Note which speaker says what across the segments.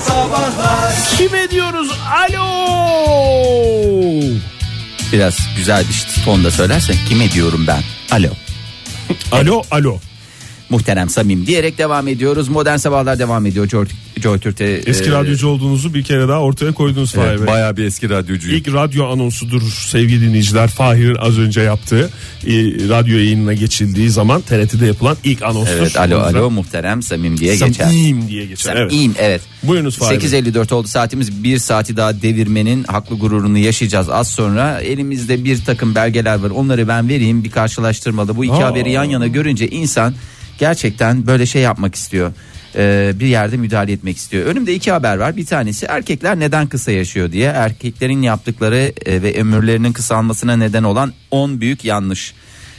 Speaker 1: sabahlar
Speaker 2: Kime diyoruz? Alo.
Speaker 3: Biraz güzel bir tonda söylersen kime diyorum ben? Alo.
Speaker 2: Alo alo.
Speaker 3: Muhterem Samim diyerek devam ediyoruz. Modern Sabahlar devam ediyor. Joy, Joy Türk'te,
Speaker 2: Eski
Speaker 3: e,
Speaker 2: radyocu olduğunuzu bir kere daha ortaya koydunuz Fahir Bey.
Speaker 4: Bayağı bir eski radyocuyum.
Speaker 2: İlk radyo anonsudur sevgili dinleyiciler. Fahir'in az önce yaptığı e, radyo yayınına geçildiği zaman TRT'de yapılan ilk anonstur.
Speaker 3: Evet alo
Speaker 2: O yüzden
Speaker 3: alo muhterem Samim diye geçer.
Speaker 2: Samim diye geçer. Evet.
Speaker 3: Samim evet.
Speaker 2: Buyurunuz Fahir Bey.
Speaker 3: 8.54 oldu saatimiz bir saati daha devirmenin haklı gururunu yaşayacağız az sonra elimizde bir takım belgeler var onları ben vereyim bir karşılaştırmalı bu iki
Speaker 2: Aa.
Speaker 3: haberi yan yana görünce insan gerçekten böyle şey yapmak istiyor Ee, bir yerde müdahale etmek istiyor önümde iki haber var bir tanesi erkekler neden kısa yaşıyor diye erkeklerin yaptıkları e, ve ömürlerinin kısalmasına neden olan 10 büyük yanlış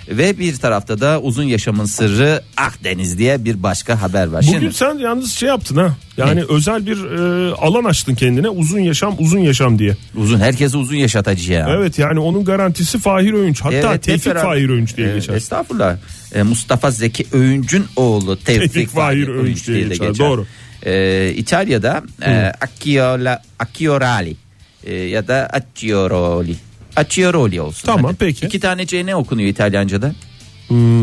Speaker 3: ve bir tarafta da uzun yaşamın sırrı Akdeniz diye bir başka haber var.
Speaker 2: Bugün sen yalnız şey yaptın ha. Yani özel bir e, alan açtın kendine uzun yaşam uzun yaşam diye.
Speaker 3: Uzun herkese uzun yaşatacağım.
Speaker 2: Evet yani onun garantisi Fahir Öğünç. Hatta
Speaker 3: hep
Speaker 2: Tevfik
Speaker 3: beraber-
Speaker 2: Fahir Öğünç diye
Speaker 3: Evet,
Speaker 2: geçer.
Speaker 3: Estağfurullah. Ee, Mustafa Zeki Öğünc'ün oğlu Tevfik,
Speaker 2: Tevfik
Speaker 3: Fahir Öğünç diye geçer.
Speaker 2: doğru.
Speaker 3: Ee, İtalya'da e, Acciola, Acciorali e, ya da Accioroli. Accioroli olsun.
Speaker 2: Tamam,
Speaker 3: hadi.
Speaker 2: peki.
Speaker 3: İki tane C ne okunuyor İtalyanca'da?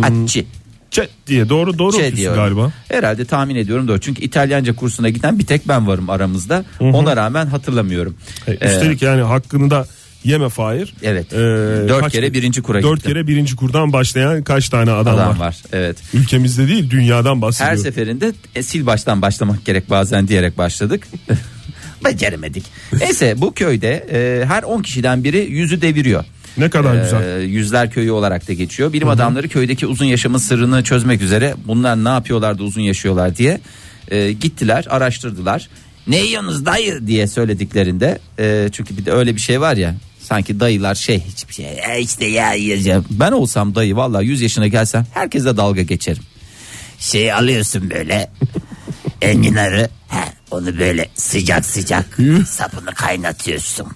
Speaker 3: Acci.
Speaker 2: Çet diye doğru doğru
Speaker 3: Şey
Speaker 2: okuyorsun
Speaker 3: diyorum.
Speaker 2: galiba.
Speaker 3: Herhalde tahmin ediyorum doğru. Çünkü İtalyanca kursuna giden bir tek ben varım aramızda. Ona rağmen hatırlamıyorum.
Speaker 2: E,
Speaker 3: Ee,
Speaker 2: Üstelik yani hakkını da yeme Fahir.
Speaker 3: Evet.
Speaker 2: E,
Speaker 3: Dört kere birinci kura
Speaker 2: Dört
Speaker 3: gittim.
Speaker 2: kere birinci kurdan başlayan kaç tane adam,
Speaker 3: adam
Speaker 2: var?
Speaker 3: var. Evet.
Speaker 2: Ülkemizde değil dünyadan bahsediyor.
Speaker 3: Her seferinde e, sil baştan başlamak gerek bazen diyerek başladık. Beceremedik. Neyse bu köyde e, her 10 kişiden biri yüzü deviriyor.
Speaker 2: Ne kadar
Speaker 3: E,
Speaker 2: güzel.
Speaker 3: Yüzler köyü olarak da geçiyor. Bilim adamları köydeki uzun yaşamın sırrını çözmek üzere bunlar ne yapıyorlardı uzun yaşıyorlar diye e, gittiler araştırdılar. Ne yiyorsunuz dayı diye söylediklerinde e, çünkü bir de öyle bir şey var ya sanki dayılar şey hiçbir şey "E, işte ya yiyeceğim. Ben olsam dayı vallahi 100 yaşına gelsem herkese dalga geçerim şey alıyorsun böyle enginarı he, onu böyle sıcak sıcak sapını kaynatıyorsun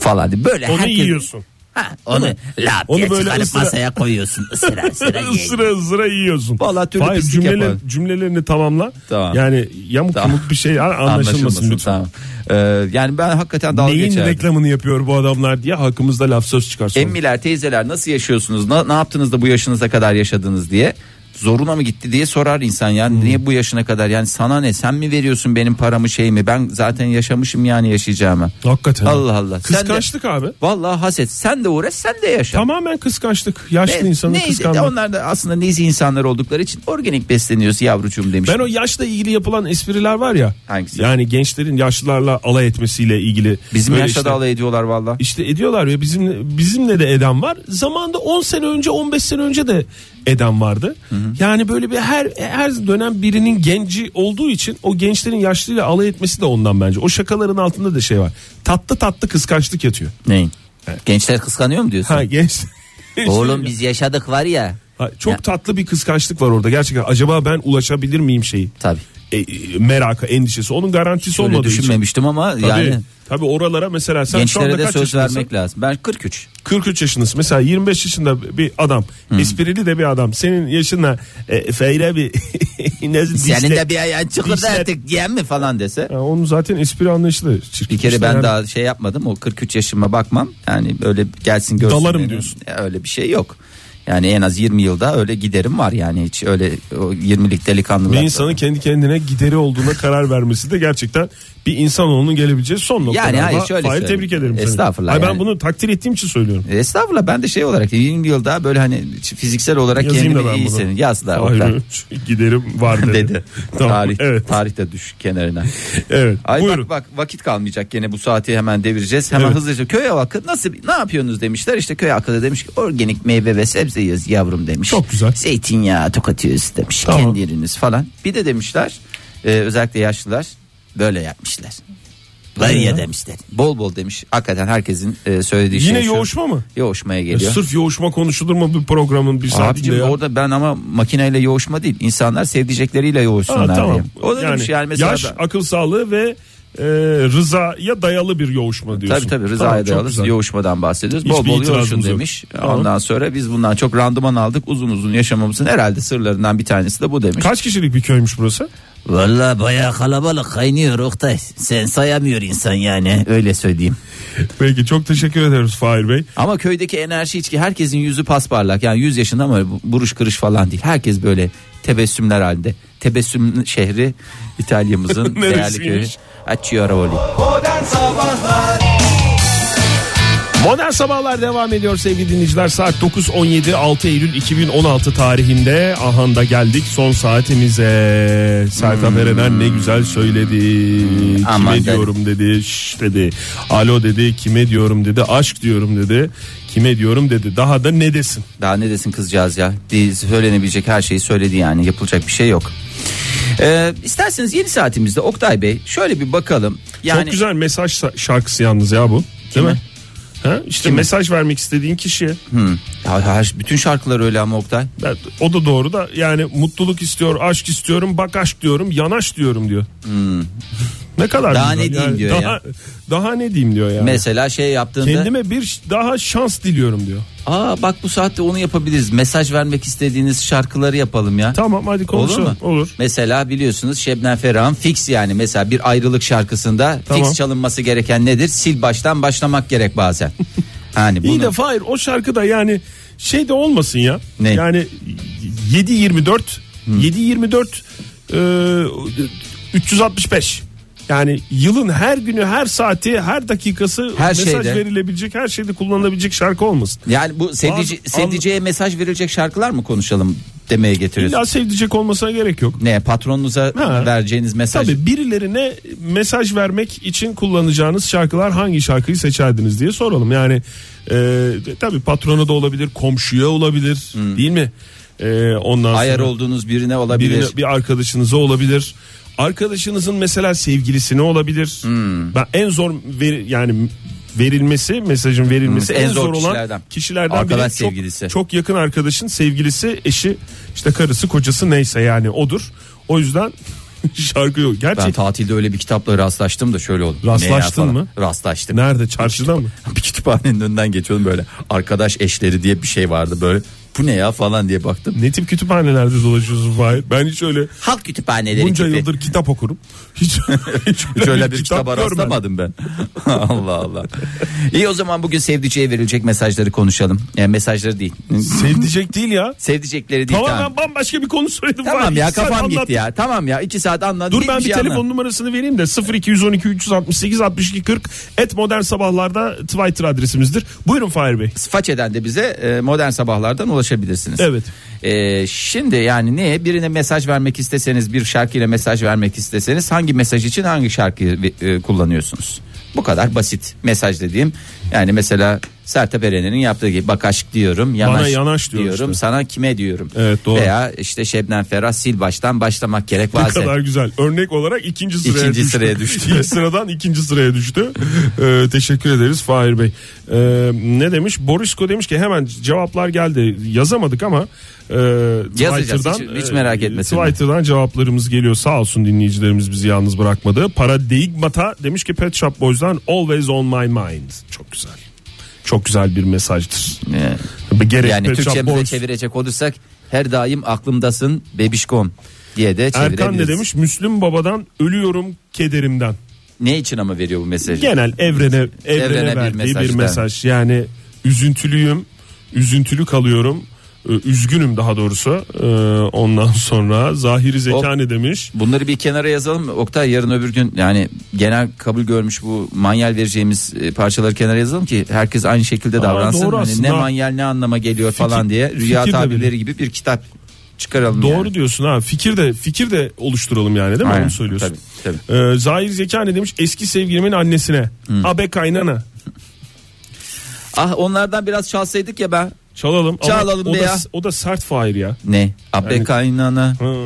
Speaker 3: falan diye. böyle
Speaker 2: Onu
Speaker 3: herkes-
Speaker 2: yiyorsun.
Speaker 3: ha, onu lap
Speaker 2: Onu
Speaker 3: diye
Speaker 2: böyle
Speaker 3: çıkarıp
Speaker 2: ısıra-
Speaker 3: masaya koyuyorsun ısıra ısıra yiyin.
Speaker 2: Isıra ısıra yiyorsun.
Speaker 3: Vallahi türlü
Speaker 2: Fahir,
Speaker 3: pislik
Speaker 2: cümleler-
Speaker 3: yapalım.
Speaker 2: cümlelerini tamamla.
Speaker 3: Tamam.
Speaker 2: Yani yamuk
Speaker 3: Tamam.
Speaker 2: yumuk bir şey an- anlaşılmasın
Speaker 3: Anlaşılmasın
Speaker 2: lütfen.
Speaker 3: tamam. Ee, yani ben hakikaten dalga
Speaker 2: Neyin
Speaker 3: geçerdim.
Speaker 2: reklamını yapıyor bu adamlar diye hakkımızda laf söz çıkar sonra.
Speaker 3: Emmiler teyzeler nasıl yaşıyorsunuz ne, ne yaptınız da bu yaşınıza kadar yaşadınız diye zoruna mı gitti diye sorar insan yani
Speaker 2: Hmm.
Speaker 3: niye bu yaşına kadar yani sana ne sen mi veriyorsun benim paramı şey mi ben zaten yaşamışım yani yaşayacağımı.
Speaker 2: Hakikaten.
Speaker 3: Allah Allah. Sen de-
Speaker 2: Kıskançlık abi.
Speaker 3: Vallahi haset sen de uğraş sen de yaşa.
Speaker 2: Tamamen kıskançlık. Yaşlı
Speaker 3: Ne-
Speaker 2: insanı
Speaker 3: neyse,
Speaker 2: kıskanmak.
Speaker 3: Onlar da aslında nezih insanlar oldukları için organik besleniyoruz yavrucuğum demiş.
Speaker 2: Ben o yaşla ilgili yapılan espriler var ya.
Speaker 3: Hangisi?
Speaker 2: Yani gençlerin yaşlılarla alay etmesiyle ilgili.
Speaker 3: Bizim
Speaker 2: Böyle
Speaker 3: yaşta
Speaker 2: işte-
Speaker 3: da alay ediyorlar valla.
Speaker 2: İşte ediyorlar ya bizim bizimle de eden var. Zamanda 10 sene önce 15 sene önce de eden vardı. Yani böyle bir her her dönem birinin genci olduğu için o gençlerin yaşlıyla alay etmesi de ondan bence. O şakaların altında da şey var. Tatlı tatlı kıskançlık yatıyor.
Speaker 3: Neyin? Gençler kıskanıyor mu diyorsun?
Speaker 2: Ha genç.
Speaker 3: Oğlum biz yaşadık var ya.
Speaker 2: Ha, çok
Speaker 3: Ya.
Speaker 2: tatlı bir kıskançlık var orada gerçekten. Acaba ben ulaşabilir miyim şeyi?
Speaker 3: Tabii.
Speaker 2: E, e, meraka, endişesi. Onun garantisi
Speaker 3: Öyle
Speaker 2: olmadığı için.
Speaker 3: düşünmemiştim ama
Speaker 2: Tabii,
Speaker 3: yani
Speaker 2: tabii oralara mesela sen şu anda
Speaker 3: gençlere de
Speaker 2: kaç
Speaker 3: söz
Speaker 2: yaşındasın?
Speaker 3: vermek lazım. Ben 43.
Speaker 2: 43 yaşındasın. Mesela 25 yaşında bir adam,
Speaker 3: Hmm.
Speaker 2: esprili de bir adam. Senin yaşına e, Feyre bir nasıl
Speaker 3: Senin
Speaker 2: dişle-
Speaker 3: de bir ayağın çıkırdı
Speaker 2: dişler-
Speaker 3: artık diyen mi falan dese.
Speaker 2: Ya onun zaten espri anlayışı da çirkin.
Speaker 3: Bir kere
Speaker 2: İşte
Speaker 3: ben
Speaker 2: yani
Speaker 3: daha şey yapmadım o 43 yaşıma bakmam yani böyle gelsin görsün.
Speaker 2: Dalarım
Speaker 3: beni.
Speaker 2: diyorsun.
Speaker 3: Ya öyle bir şey yok. Yani en az 20 yılda öyle giderim var yani hiç öyle o 20'lik delikanlılar.
Speaker 2: bir insanın kendi kendine gideri olduğuna karar vermesi de gerçekten bir insanoğlunun gelebileceği son nokta.
Speaker 3: Yani
Speaker 2: galiba.
Speaker 3: hayır, şöyle
Speaker 2: Fahir,
Speaker 3: söyleyeyim.
Speaker 2: tebrik ederim seni.
Speaker 3: Estağfurullah
Speaker 2: Hayır, ben
Speaker 3: yani.
Speaker 2: bunu takdir ettiğim için söylüyorum.
Speaker 3: E, Estağfurullah ben de şey olarak 20 yıl daha böyle hani fiziksel olarak
Speaker 2: Yazayım da
Speaker 3: kendimi
Speaker 2: ben
Speaker 3: iyi
Speaker 2: bunu.
Speaker 3: hissediyorum. Yaz da
Speaker 2: Fahir
Speaker 3: Oktay.
Speaker 2: Öğünç, giderim var dedi.
Speaker 3: dedi.
Speaker 2: Tamam,
Speaker 3: tarih,
Speaker 2: evet.
Speaker 3: tarih de düş kenarına.
Speaker 2: Evet,
Speaker 3: Ay
Speaker 2: buyurun.
Speaker 3: bak, bak vakit kalmayacak gene bu saati hemen devireceğiz. Hemen
Speaker 2: Evet.
Speaker 3: hızlıca köy halkı nasıl ne yapıyorsunuz demişler. İşte köy halkı da demiş ki organik meyve ve sebze yiyoruz yavrum demiş.
Speaker 2: Çok güzel.
Speaker 3: Zeytinyağı tokatıyoruz demiş.
Speaker 2: Tamam.
Speaker 3: Kendi yeriniz falan. Bir de demişler e, özellikle yaşlılar böyle yapmışlar. Var
Speaker 2: Ne
Speaker 3: ya
Speaker 2: ya?
Speaker 3: demişler. Bol bol demiş. Hakikaten herkesin e, söylediği şey
Speaker 2: Yine
Speaker 3: şu.
Speaker 2: yoğuşma mı?
Speaker 3: Yoğuşmaya
Speaker 2: E,
Speaker 3: geliyor.
Speaker 2: Sırf yoğuşma konuşulur mu bir programın bir saatinde
Speaker 3: Abicim
Speaker 2: ya?
Speaker 3: orada ben ama makineyle yoğuşma değil. İnsanlar sevdicekleriyle
Speaker 2: Ha,
Speaker 3: yoğuşsunlar
Speaker 2: tamam.
Speaker 3: diye. O da demiş yani mesela
Speaker 2: yaş,
Speaker 3: da-
Speaker 2: akıl sağlığı ve e, rızaya dayalı bir yoğuşma diyorsun.
Speaker 3: Tabii tabii
Speaker 2: Tamam,
Speaker 3: Rıza'ya
Speaker 2: çok
Speaker 3: dayalı
Speaker 2: güzel.
Speaker 3: yoğuşmadan bahsediyoruz.
Speaker 2: Hiçbir
Speaker 3: bol bol
Speaker 2: itirazımız
Speaker 3: yoğuşun
Speaker 2: yok.
Speaker 3: demiş.
Speaker 2: Tamam.
Speaker 3: Ondan sonra biz bundan çok randıman aldık. Uzun uzun yaşamamızın herhalde sırlarından bir tanesi de bu demiş.
Speaker 2: Kaç kişilik bir köymüş burası?
Speaker 3: Valla bayağı kalabalık kaynıyor Oktay. Sen sayamıyor insan yani öyle söyleyeyim.
Speaker 2: Peki çok teşekkür ederiz Fahir Bey.
Speaker 3: Ama köydeki enerji içki herkesin yüzü pasparlak. Yani 100 yaşında ama bu- buruş kırış falan değil. Herkes böyle tebessümler halinde. Tebessüm şehri İtalya'mızın değerli köyü.
Speaker 2: Neresiymiş?
Speaker 3: Acciarovoli.
Speaker 2: Modern Sabahlar devam ediyor sevgili dinleyiciler. Saat 9.17 6 Eylül 2016 tarihinde ahanda geldik son saatimize. Sertab Erener ne güzel söyledi. Kime
Speaker 3: Hmm. aman dedi.
Speaker 2: diyorum dedi. Şş dedi. Alo dedi. Kime diyorum dedi. Aşk diyorum dedi. Kime diyorum dedi. Daha da ne desin?
Speaker 3: Daha ne desin kızcağız ya. Değil, Söylenebilecek her şeyi söyledi yani. Yapılacak bir şey yok. Ee, isterseniz yeni saatimizde Oktay Bey şöyle bir bakalım. Yani
Speaker 2: Çok güzel mesaj sa- şarkısı yalnız ya bu. Değil
Speaker 3: Kime?
Speaker 2: mi? Ha? İşte mesaj vermek istediğin kişiye.
Speaker 3: Hı. Ya her, şey- bütün şarkılar öyle ama Oktay.
Speaker 2: Ben- O da doğru da yani mutluluk istiyor, aşk istiyorum, bak aşk diyorum, yanaş diyorum diyor. ne kadar
Speaker 3: Hmm. Daha
Speaker 2: güzel.
Speaker 3: ne diyeyim
Speaker 2: Yani
Speaker 3: diyor
Speaker 2: daha,
Speaker 3: ya.
Speaker 2: Daha ne diyeyim diyor yani.
Speaker 3: Mesela şey yaptığında
Speaker 2: Kendime bir ş- daha şans diliyorum diyor.
Speaker 3: aa bak bu saatte onu yapabiliriz. Mesaj vermek istediğiniz şarkıları yapalım ya.
Speaker 2: Tamam hadi konuşalım.
Speaker 3: Olur mu?
Speaker 2: Olur.
Speaker 3: Mesela biliyorsunuz Şebnem Ferah'ın fix yani mesela bir ayrılık şarkısında
Speaker 2: Tamam.
Speaker 3: fix çalınması gereken nedir? Sil baştan başlamak gerek bazen. Yani
Speaker 2: İyi
Speaker 3: bunu
Speaker 2: de Fahir o şarkıda yani şey de olmasın ya.
Speaker 3: Ne? Hmm.
Speaker 2: Yani 7-24 7-24 e, 365 yani yılın her günü, her saati, her dakikası
Speaker 3: Her
Speaker 2: mesaj
Speaker 3: şeyde.
Speaker 2: verilebilecek, her şeyde kullanılabilecek şarkı olmasın.
Speaker 3: yani bu sevdice,
Speaker 2: Bazı-
Speaker 3: sevdiceye mesaj verilecek şarkılar mı konuşalım demeye getiriyorsun.
Speaker 2: İlla sevdicek olmasına gerek yok.
Speaker 3: Ne patronunuza
Speaker 2: Ha.
Speaker 3: vereceğiniz mesaj.
Speaker 2: Tabii birilerine mesaj vermek için kullanacağınız şarkılar hangi şarkıyı seçerdiniz diye soralım. Yani e, tabii patrona da olabilir, komşuya olabilir değil mi? E, ondan
Speaker 3: Ayar
Speaker 2: sonra
Speaker 3: olduğunuz birine olabilir.
Speaker 2: birine- bir arkadaşınıza olabilir. Arkadaşınızın mesela sevgilisine olabilir.
Speaker 3: Hmm.
Speaker 2: Ben en zor veri, yani verilmesi mesajın verilmesi
Speaker 3: Hmm,
Speaker 2: en, zor, olan
Speaker 3: kişilerden.
Speaker 2: kişilerden
Speaker 3: Arkadaş
Speaker 2: biri çok-
Speaker 3: sevgilisi.
Speaker 2: Çok, yakın arkadaşın sevgilisi eşi işte karısı kocası neyse yani odur o yüzden şarkı yok gerçi
Speaker 3: Ben tatilde öyle bir kitapla rastlaştım da şöyle oldu.
Speaker 2: Rastlaştın
Speaker 3: Ne ya
Speaker 2: mı?
Speaker 3: falan. Rastlaştım.
Speaker 2: nerede çarşıda mı
Speaker 3: Bir kütüphanenin önünden geçiyordum böyle. Arkadaş eşleri diye bir şey vardı böyle. Bu ne ya falan diye baktım.
Speaker 2: ne tip kütüphanelerde dolaşıyorsun Fahir ben hiç öyle
Speaker 3: Halk kütüphaneleri
Speaker 2: bunca
Speaker 3: gibi.
Speaker 2: yıldır kitap okurum hiç, hiç,
Speaker 3: Hiç öyle bir kitaba
Speaker 2: görmedim.
Speaker 3: rastlamadım ben. Allah Allah. İyi o zaman bugün sevdiceğe verilecek mesajları konuşalım. Yani mesajları değil.
Speaker 2: sevdicek değil ya
Speaker 3: Sevdicekleri değil.
Speaker 2: Tamamen
Speaker 3: Tamam,
Speaker 2: bambaşka bir konu söyledim.
Speaker 3: tamam
Speaker 2: Fahir.
Speaker 3: ya
Speaker 2: İki saat
Speaker 3: kafam gitti
Speaker 2: anlattım.
Speaker 3: ya. Tamam ya iki saat anlat.
Speaker 2: Dur ben bir
Speaker 3: şey
Speaker 2: telefon
Speaker 3: anlat.
Speaker 2: numarasını vereyim de 0212 368 62 40 et modern sabahlarda Twitter adresimizdir. Buyurun Fahir Bey.
Speaker 3: Façeden de bize e, modern sabahlardan ulaşabilirsiniz.
Speaker 2: Evet.
Speaker 3: E, şimdi yani neye birine mesaj vermek isteseniz bir şarkıyla mesaj vermek isteseniz hangi mesaj için hangi şarkıyı e, kullanıyorsunuz? Bu kadar basit mesaj dediğim yani mesela Sertab Erener'in yaptığı gibi bak aşk diyorum yanaş,
Speaker 2: Bana yanaş diyor
Speaker 3: diyorum
Speaker 2: işte.
Speaker 3: sana kime diyorum
Speaker 2: Evet, doğru.
Speaker 3: veya işte Şebnem Ferah sil baştan başlamak gerek
Speaker 2: Ne
Speaker 3: bazen
Speaker 2: kadar güzel. Örnek olarak ikinci sıraya
Speaker 3: İkinci
Speaker 2: düştü.
Speaker 3: sıraya düştü.
Speaker 2: İlk sıradan ikinci sıraya düştü. Ee, teşekkür ederiz Fahir Bey. Ee, ne demiş? Borisko demiş ki hemen cevaplar geldi. Yazamadık ama e, Twitter'dan, e,
Speaker 3: hiç- hiç merak etmesin.
Speaker 2: Twitter'dan cevaplarımız geliyor. Sağ olsun dinleyicilerimiz bizi yalnız bırakmadı. Paradigmata demiş ki Pet Shop Boys'dan Always On My Mind. Çok güzel. Çok güzel bir mesajdır.
Speaker 3: E,
Speaker 2: Gerek
Speaker 3: yani
Speaker 2: Pet Shop
Speaker 3: Türkçemize
Speaker 2: Boys-
Speaker 3: çevirecek olursak her daim aklımdasın bebişkom diye de çevirebiliriz.
Speaker 2: Erkan ne demiş? Müslüm Baba'dan ölüyorum kederimden.
Speaker 3: Ne için ama veriyor bu mesajı?
Speaker 2: genel evrene evrene,
Speaker 3: Evrene bir
Speaker 2: verdiği bir
Speaker 3: mesaj
Speaker 2: mesaj,
Speaker 3: da.
Speaker 2: Yani üzüntülüyüm, üzüntülü kalıyorum, e, üzgünüm daha doğrusu. E, Ondan sonra zahiri zekane demiş.
Speaker 3: Bunları bir kenara yazalım. mı? Oktay yarın öbür gün yani genel kabul görmüş bu manyel vereceğimiz e, parçaları kenara yazalım ki herkes aynı şekilde davransın.
Speaker 2: doğru
Speaker 3: Hani
Speaker 2: aslında.
Speaker 3: ne manyel ne anlama geliyor falan diye Rüya
Speaker 2: fikir de
Speaker 3: tabirleri gibi bir kitap çıkaralım.
Speaker 2: Doğru
Speaker 3: yani.
Speaker 2: diyorsun ha. Fikir de fikir de oluşturalım yani değil mi?
Speaker 3: Aynen,
Speaker 2: Onu söylüyorsun.
Speaker 3: tabii,
Speaker 2: E, Zahir zekane demiş eski sevgilimin annesine. Abe kaynana.
Speaker 3: Ah onlardan biraz çalsaydık ya ben.
Speaker 2: Çalalım. Ama
Speaker 3: Çalalım
Speaker 2: o
Speaker 3: be
Speaker 2: da,
Speaker 3: ya.
Speaker 2: O da sert fail ya.
Speaker 3: Ne? Abbe
Speaker 2: Yani-
Speaker 3: kaynana
Speaker 2: Hı.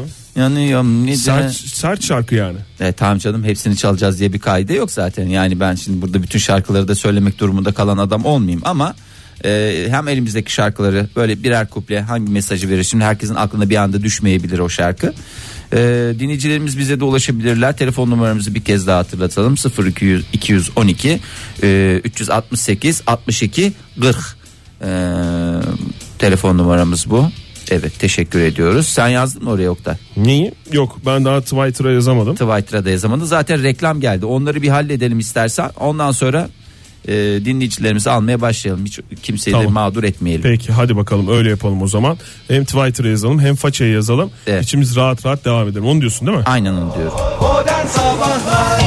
Speaker 3: yanıyorum. Ne
Speaker 2: Sert, sert şarkı yani.
Speaker 3: E, tamam canım hepsini çalacağız diye bir kaide yok zaten. Yani ben şimdi burada bütün şarkıları da söylemek durumunda kalan adam olmayayım ama Ee, hem elimizdeki şarkıları böyle birer kuple hangi mesajı verir şimdi herkesin aklına bir anda düşmeyebilir o şarkı. Ee, dinleyicilerimiz bize de ulaşabilirler. Telefon numaramızı bir kez daha hatırlatalım. 0212 e, 368 62 40. Ee, telefon numaramız bu. Evet teşekkür ediyoruz. Sen yazdın mı oraya Oktay?
Speaker 2: Neyi? Yok ben daha Twitter'a yazamadım.
Speaker 3: Twitter'da yazamadı. Zaten reklam geldi. Onları bir halledelim istersen. Ondan sonra e, dinleyicilerimizi almaya başlayalım. Hiç kimseyi de
Speaker 2: Tamam.
Speaker 3: mağdur etmeyelim.
Speaker 2: Peki hadi bakalım öyle yapalım o zaman. Hem Twitter'a yazalım hem façaya yazalım.
Speaker 3: Evet.
Speaker 2: İçimiz rahat rahat devam edelim. Onu diyorsun değil mi?
Speaker 3: Aynen onu diyorum.
Speaker 1: Modern Sabahlar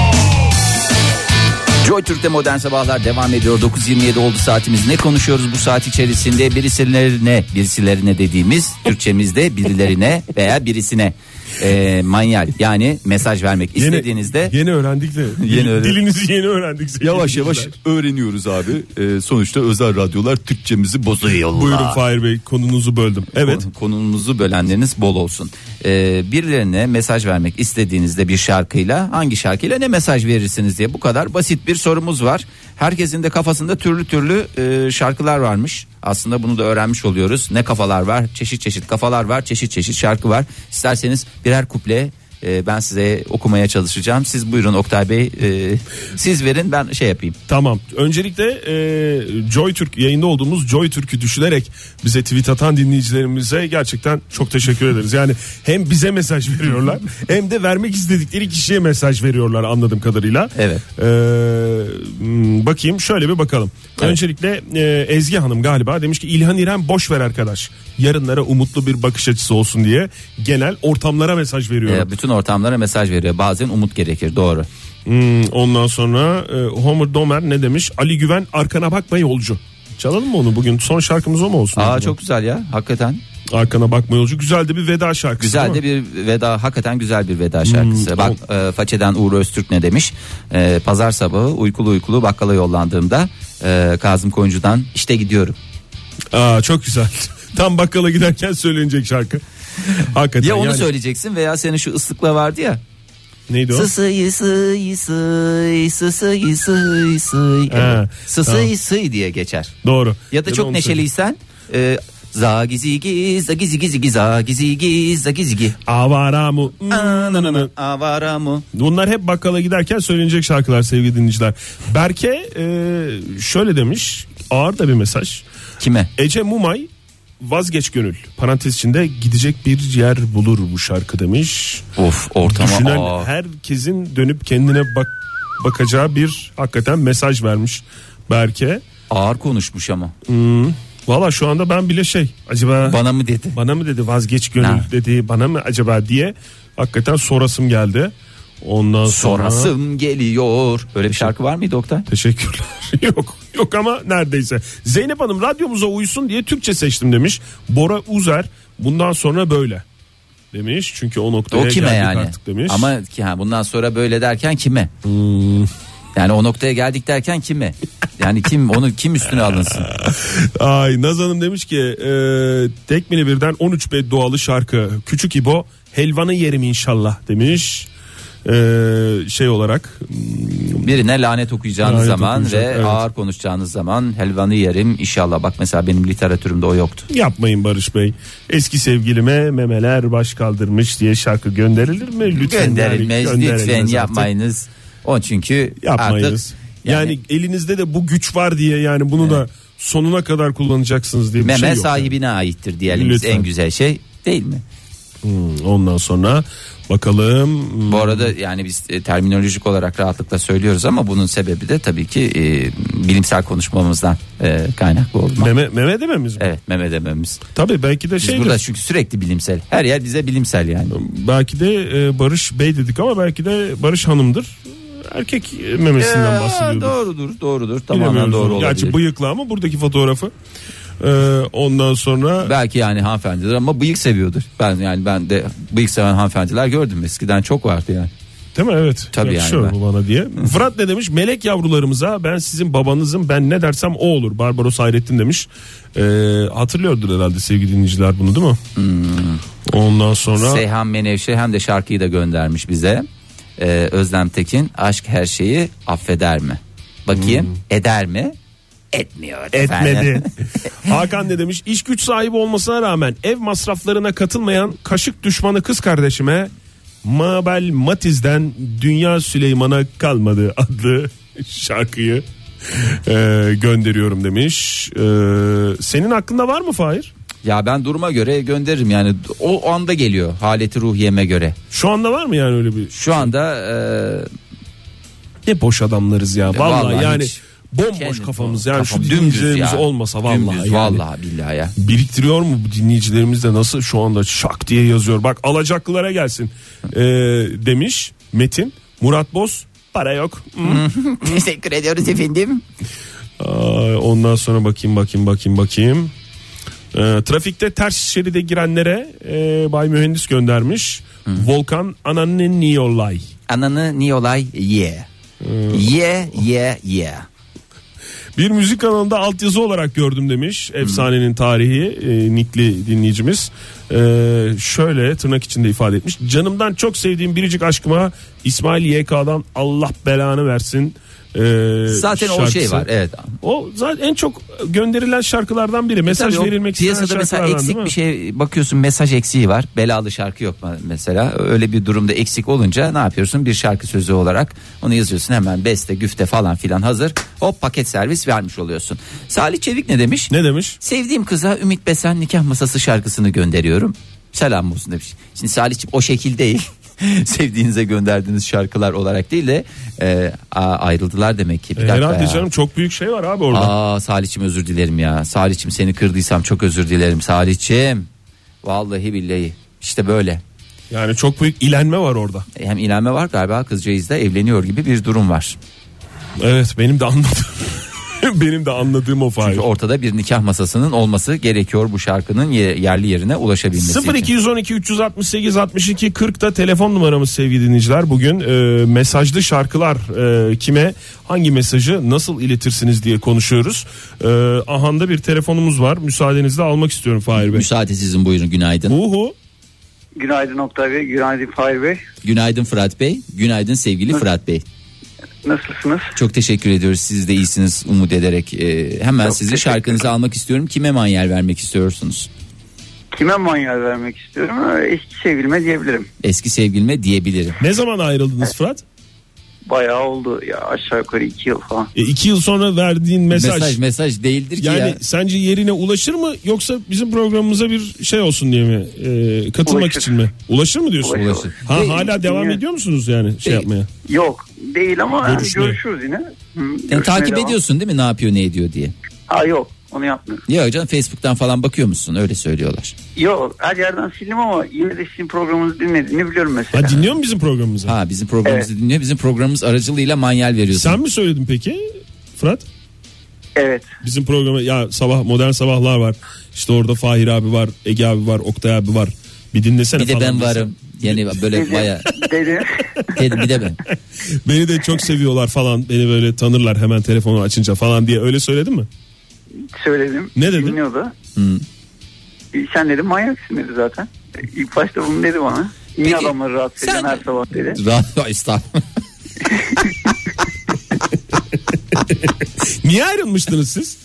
Speaker 3: Joy Türk'te modern sabahlar devam ediyor. 9.27 oldu saatimiz. Ne konuşuyoruz bu saat içerisinde? Birisilerine, birisilerine dediğimiz Türkçemizde birilerine veya birisine e, manyal yani mesaj vermek istediğinizde
Speaker 2: Yeni öğrendik de.
Speaker 3: Yeni öğrendik.
Speaker 2: Dilinizi yeni öğrendik. sevgili
Speaker 3: yavaş yavaş
Speaker 2: dinleyiciler.
Speaker 3: öğreniyoruz abi. E, sonuçta özel radyolar Türkçemizi bozuyorlar.
Speaker 2: Buyurun Fahir Bey konunuzu böldüm. Evet.
Speaker 3: Kon- Konumuzu bölenleriniz bol olsun. Ee, birilerine mesaj vermek istediğinizde bir şarkıyla hangi şarkıyla ne mesaj verirsiniz diye bu kadar basit bir sorumuz var. Herkesin de kafasında türlü türlü e, şarkılar varmış. Aslında bunu da öğrenmiş oluyoruz. Ne kafalar var? Çeşit çeşit kafalar var. Çeşit çeşit şarkı var. İsterseniz birer kuple e, ben size okumaya çalışacağım. Siz buyurun Oktay Bey. e, siz verin ben şey yapayım.
Speaker 2: Tamam. Öncelikle e, Joy Türk yayında olduğumuz Joy Türk'ü düşünerek bize tweet atan dinleyicilerimize gerçekten çok teşekkür ederiz. Yani hem bize mesaj veriyorlar hem de vermek istedikleri kişiye mesaj veriyorlar anladığım kadarıyla.
Speaker 3: Evet.
Speaker 2: E, m, bakayım şöyle bir bakalım.
Speaker 3: Evet.
Speaker 2: Öncelikle e, Ezgi Hanım galiba demiş ki İlhan İrem boş ver arkadaş. Yarınlara umutlu bir bakış açısı olsun diye genel ortamlara mesaj veriyorum.
Speaker 3: E, bütün ortamlara mesaj veriyor. Bazen umut gerekir doğru.
Speaker 2: Hmm, ondan sonra e, Homer Domer ne demiş? Ali Güven arkana bakma yolcu. Çalalım mı onu bugün? Son şarkımız o mu olsun?
Speaker 3: Aa çok güzel ya hakikaten.
Speaker 2: Arkana bakma yolcu. Güzel de bir veda şarkısı.
Speaker 3: Güzel
Speaker 2: değil
Speaker 3: de
Speaker 2: mi?
Speaker 3: bir veda hakikaten güzel bir veda şarkısı. Bak e, façeden Uğur Öztürk ne demiş? E, Pazar sabahı uykulu uykulu bakkala yollandığımda e, Kazım Koyuncu'dan işte gidiyorum.
Speaker 2: Aa çok güzel. Tam bakkala giderken söylenecek şarkı. Hakikaten
Speaker 3: Ya onu
Speaker 2: yani.
Speaker 3: söyleyeceksin veya senin şu ıslıkla vardı ya.
Speaker 2: Neydi o?
Speaker 3: Sısıy sıy sıy sısıy sıy sıy.
Speaker 2: He,
Speaker 3: Sısıy sıy diye geçer.
Speaker 2: Doğru.
Speaker 3: Ya da çok
Speaker 2: onu söyle.
Speaker 3: neşeliysen e, zagizigi zagizigi zagizigi zagizigi.
Speaker 2: Avara mu? Ananana.
Speaker 3: Avara mı?
Speaker 2: Bunlar hep bakkala giderken söylenecek şarkılar sevgili dinleyiciler. Berke e, şöyle demiş. Ağır da bir mesaj.
Speaker 3: Kime?
Speaker 2: Ece Mumay vazgeç gönül parantez içinde gidecek bir yer bulur bu şarkı demiş.
Speaker 3: Of ortama
Speaker 2: Düşünen
Speaker 3: aa.
Speaker 2: herkesin dönüp kendine bak bakacağı bir hakikaten mesaj vermiş Berke.
Speaker 3: Ağır konuşmuş ama.
Speaker 2: Valla şu anda ben bile şey acaba
Speaker 3: Bana mı dedi?
Speaker 2: bana mı dedi vazgeç gönül
Speaker 3: Ha.
Speaker 2: dedi bana mı acaba diye hakikaten sorasım geldi. Ondan sonra
Speaker 3: Sonrasım geliyor. Böyle bir şarkı var mıydı Oktay?
Speaker 2: Teşekkürler. yok yok ama neredeyse. Zeynep Hanım radyomuza uysun diye Türkçe seçtim demiş. Bora Uzer bundan sonra böyle demiş. Çünkü o noktaya
Speaker 3: O kime
Speaker 2: geldik
Speaker 3: yani?
Speaker 2: artık demiş. Hmm.
Speaker 3: Ama ki ha, bundan sonra böyle derken kime? Yani o noktaya geldik derken kime? Yani kim onu kim üstüne alınsın?
Speaker 2: Ay Naz Hanım demiş ki e, tekmini birden 13 beddualı şarkı Küçük İbo helvanı yerim inşallah demiş. E, şey olarak hmm,
Speaker 3: Birine lanet okuyacağınız
Speaker 2: Lanet
Speaker 3: zaman
Speaker 2: okuyacak,
Speaker 3: ve
Speaker 2: evet.
Speaker 3: ağır konuşacağınız zaman helvanı yerim inşallah. Bak mesela benim literatürümde o yoktu.
Speaker 2: yapmayın Barış Bey. Eski sevgilime memeler baş kaldırmış diye şarkı gönderilir mi? Lütfen yani
Speaker 3: Gönderilmez lütfen
Speaker 2: gönderilmez artık.
Speaker 3: yapmayınız. O çünkü
Speaker 2: yapmayınız.
Speaker 3: artık
Speaker 2: yani, elinizde de bu güç var diye yani bunu da sonuna kadar kullanacaksınız diye bir
Speaker 3: meme
Speaker 2: şey yok.
Speaker 3: sahibine aittir diyelim biz
Speaker 2: Lütfen.
Speaker 3: en güzel şey değil mi?
Speaker 2: Hmm, Ondan sonra bakalım hmm,
Speaker 3: Bu arada yani biz e, terminolojik olarak rahatlıkla söylüyoruz ama bunun sebebi de tabii ki e, bilimsel konuşmamızdan e, kaynaklı olma.
Speaker 2: meme meme dememiz mi?
Speaker 3: Evet meme dememiz.
Speaker 2: Tabii belki de
Speaker 3: Biz
Speaker 2: şey
Speaker 3: burada çünkü sürekli bilimsel. Her yer bize bilimsel yani.
Speaker 2: belki de e, Barış Bey dedik ama belki de Barış Hanım'dır. Erkek e, memesinden
Speaker 3: Ee,
Speaker 2: bahsediyoruz.
Speaker 3: doğrudur doğrudur tamamen
Speaker 2: Bilemiyoruz
Speaker 3: doğru
Speaker 2: onu.
Speaker 3: olabilir.
Speaker 2: Gerçi bıyıklı ama buradaki fotoğrafı. Ee, ondan sonra
Speaker 3: Belki yani hanımefendidir ama bıyık seviyordur. Ben yani ben de bıyık seven hanımefendiler gördüm eskiden çok vardı yani.
Speaker 2: Değil mi? Evet.
Speaker 3: Tabii
Speaker 2: Yakışıyor
Speaker 3: yani ben-
Speaker 2: bu bana diye. Fırat ne demiş? Melek yavrularımıza ben sizin babanızım ben ne dersem o olur. Barbaros Hayrettin demiş. Ee, hatırlıyordur herhalde sevgili dinleyiciler bunu değil mi?
Speaker 3: Hmm.
Speaker 2: Ondan sonra
Speaker 3: Seyhan Menevşe hem de şarkıyı da göndermiş bize. Ee, Özlem Tekin aşk her şeyi affeder mi? Bakayım eder mi? etmiyor.
Speaker 2: Hmm. etmedi.
Speaker 3: efendim.
Speaker 2: Hakan ne demiş? İş güç sahibi olmasına rağmen ev masraflarına katılmayan kaşık düşmanı kız kardeşime Mabel Matiz'den Dünya Süleyman'a kalmadı adlı şarkıyı e, gönderiyorum demiş. E, senin hakkında var mı Fahir?
Speaker 3: Ya ben duruma göre gönderirim yani o o anda geliyor haleti ruhiyeme göre.
Speaker 2: Şu anda var mı yani öyle bir?
Speaker 3: Şu anda e,
Speaker 2: Ne boş adamlarız ya. Vallahi,
Speaker 3: Vallahi
Speaker 2: yani
Speaker 3: hiç.
Speaker 2: bomboş
Speaker 3: kendim-
Speaker 2: kafamız yani
Speaker 3: kafam
Speaker 2: şu
Speaker 3: dümdüz
Speaker 2: dinleyicilerimiz
Speaker 3: ya.
Speaker 2: olmasa vallahi.
Speaker 3: Dümdüz,
Speaker 2: yani.
Speaker 3: vallahi billahi ya.
Speaker 2: biriktiriyor mu bu dinleyicilerimiz de nasıl şu anda şak diye yazıyor. Bak alacaklılara gelsin Ee, demiş Metin. Murat Boz para yok.
Speaker 3: Teşekkür ediyoruz efendim.
Speaker 2: Ay, ondan sonra bakayım bakayım bakayım bakayım. Ee, trafikte ters şeride girenlere e, Bay Mühendis göndermiş. Volkan ananın niye olay?
Speaker 3: Ananı niye olay ye.
Speaker 2: Ee,
Speaker 3: Ye ye ye.
Speaker 2: Bir müzik kanalında altyazı olarak gördüm demiş. Efsanenin tarihi e, Nikli dinleyicimiz. E, şöyle tırnak içinde ifade etmiş. Canımdan çok sevdiğim biricik aşkıma İsmail YK'dan Allah belanı versin. e,
Speaker 3: Zaten o şey
Speaker 2: şarkısı.
Speaker 3: var evet.
Speaker 2: O zaten en çok gönderilen şarkılardan biri. Mesaj
Speaker 3: E, Tabii o
Speaker 2: verilmek istenen
Speaker 3: piyasada
Speaker 2: şarkılardan
Speaker 3: mesela eksik
Speaker 2: değil mi?
Speaker 3: bir şey bakıyorsun mesaj eksiği var. Belalı şarkı yok mesela. Öyle bir durumda eksik olunca ne yapıyorsun? Bir şarkı sözü olarak onu yazıyorsun hemen beste, güfte falan filan hazır. Hop paket servis vermiş oluyorsun. Salih Çevik ne demiş?
Speaker 2: Ne demiş?
Speaker 3: Sevdiğim kıza Ümit Besen nikah masası şarkısını gönderiyorum. Selam olsun demiş. Şimdi Salih'ciğim o şekil değil. Sevdiğinize gönderdiğiniz şarkılar olarak değil de e, a- ayrıldılar demek ki. Bir
Speaker 2: E,
Speaker 3: dakika
Speaker 2: herhalde
Speaker 3: ya.
Speaker 2: canım çok büyük şey var abi orada.
Speaker 3: Aa Salih'cim özür dilerim ya. Salih'cim seni kırdıysam çok özür dilerim Salih'cim. Vallahi billahi işte böyle.
Speaker 2: Yani çok büyük ilenme var orada.
Speaker 3: Hem ilame var galiba kızcağız da evleniyor gibi bir durum var.
Speaker 2: Evet benim de anladığım benim de anladığım o fail.
Speaker 3: Çünkü ortada bir nikah masasının olması gerekiyor bu şarkının ye- yerli yerine ulaşabilmesi için.
Speaker 2: 0212 368 62 40 da telefon numaramız sevgili dinleyiciler. Bugün e, mesajlı şarkılar e, kime hangi mesajı nasıl iletirsiniz diye konuşuyoruz. E, ahanda bir telefonumuz var. Müsaadenizle almak istiyorum Fahir Bey.
Speaker 3: Müsaade sizin buyurun günaydın.
Speaker 2: Uhu.
Speaker 4: Günaydın Oktay Bey, günaydın Fahir Bey.
Speaker 3: Günaydın Fırat Bey. Günaydın sevgili Fırat Bey.
Speaker 4: Nasılsınız?
Speaker 3: Çok teşekkür ediyoruz. Siz de iyisiniz umut ederek. Ee, hemen
Speaker 4: Çok
Speaker 3: sizi
Speaker 4: teşekkür
Speaker 3: şarkınızı almak istiyorum. Kime manyer vermek istiyorsunuz?
Speaker 4: Kime manyağı vermek istiyorum? Ee, Eski sevgilime diyebilirim.
Speaker 3: Eski sevgilime diyebilirim.
Speaker 2: Ne zaman ayrıldınız Fırat?
Speaker 4: Bayağı oldu ya aşağı yukarı iki yıl falan.
Speaker 2: E, iki yıl sonra verdiğin mesaj.
Speaker 3: Mesaj mesaj, değildir ki
Speaker 2: yani
Speaker 3: ya.
Speaker 2: sence yerine ulaşır mı yoksa bizim programımıza bir şey olsun diye mi e, katılmak
Speaker 4: Ulaşır.
Speaker 2: için mi? Ulaşır mı diyorsun?
Speaker 4: Ulaşır.
Speaker 3: Ulaşır.
Speaker 2: Ha
Speaker 3: Değil.
Speaker 2: hala devam
Speaker 4: Değil.
Speaker 2: ediyor musunuz yani şey
Speaker 3: Değil.
Speaker 2: yapmaya?
Speaker 4: Yok değil ama yani
Speaker 2: Görüşme.
Speaker 4: görüşürüz yine. Hı,
Speaker 3: Yani
Speaker 4: görüşmeye
Speaker 3: takip
Speaker 4: devam.
Speaker 3: ediyorsun değil mi? Ne yapıyor, ne ediyor diye.
Speaker 4: Ha yok onu yapmıyorum.
Speaker 3: Ya canım Facebook'tan falan bakıyor musun? Öyle söylüyorlar.
Speaker 4: Yok her yerden sildim ama yine de sizin programınızı dinlediğini biliyorum mesela.
Speaker 2: Ha dinliyor mu bizim programımızı?
Speaker 3: Ha bizim programımızı dinliyor. Bizim programımız aracılığıyla manyel veriyorsun.
Speaker 2: Sen mi söyledin peki Fırat?
Speaker 4: Evet.
Speaker 2: Bizim programa ya sabah modern sabahlar var. İşte orada Fahir abi var, Ege abi var, Oktay abi var. Bir dinlesene
Speaker 3: bir de
Speaker 2: falan
Speaker 3: ben
Speaker 2: desen.
Speaker 3: varım. Yani böyle baya.
Speaker 4: Dedim.
Speaker 3: Bir de ben.
Speaker 2: Beni de çok seviyorlar falan. Beni böyle tanırlar hemen telefonu açınca falan diye öyle söyledin mi?
Speaker 4: Söyledim.
Speaker 2: Ne dedi?
Speaker 4: Dinliyordu.
Speaker 3: Hmm.
Speaker 4: E, Sen dedim manyaksın dedi zaten. E, İlk başta bunu dedi bana. Niye
Speaker 3: Peki,
Speaker 4: adamları rahatsız eden
Speaker 3: sen-
Speaker 4: her sabah dedi.
Speaker 3: Radyo estağfurullah.
Speaker 2: Niye ayrılmıştınız siz?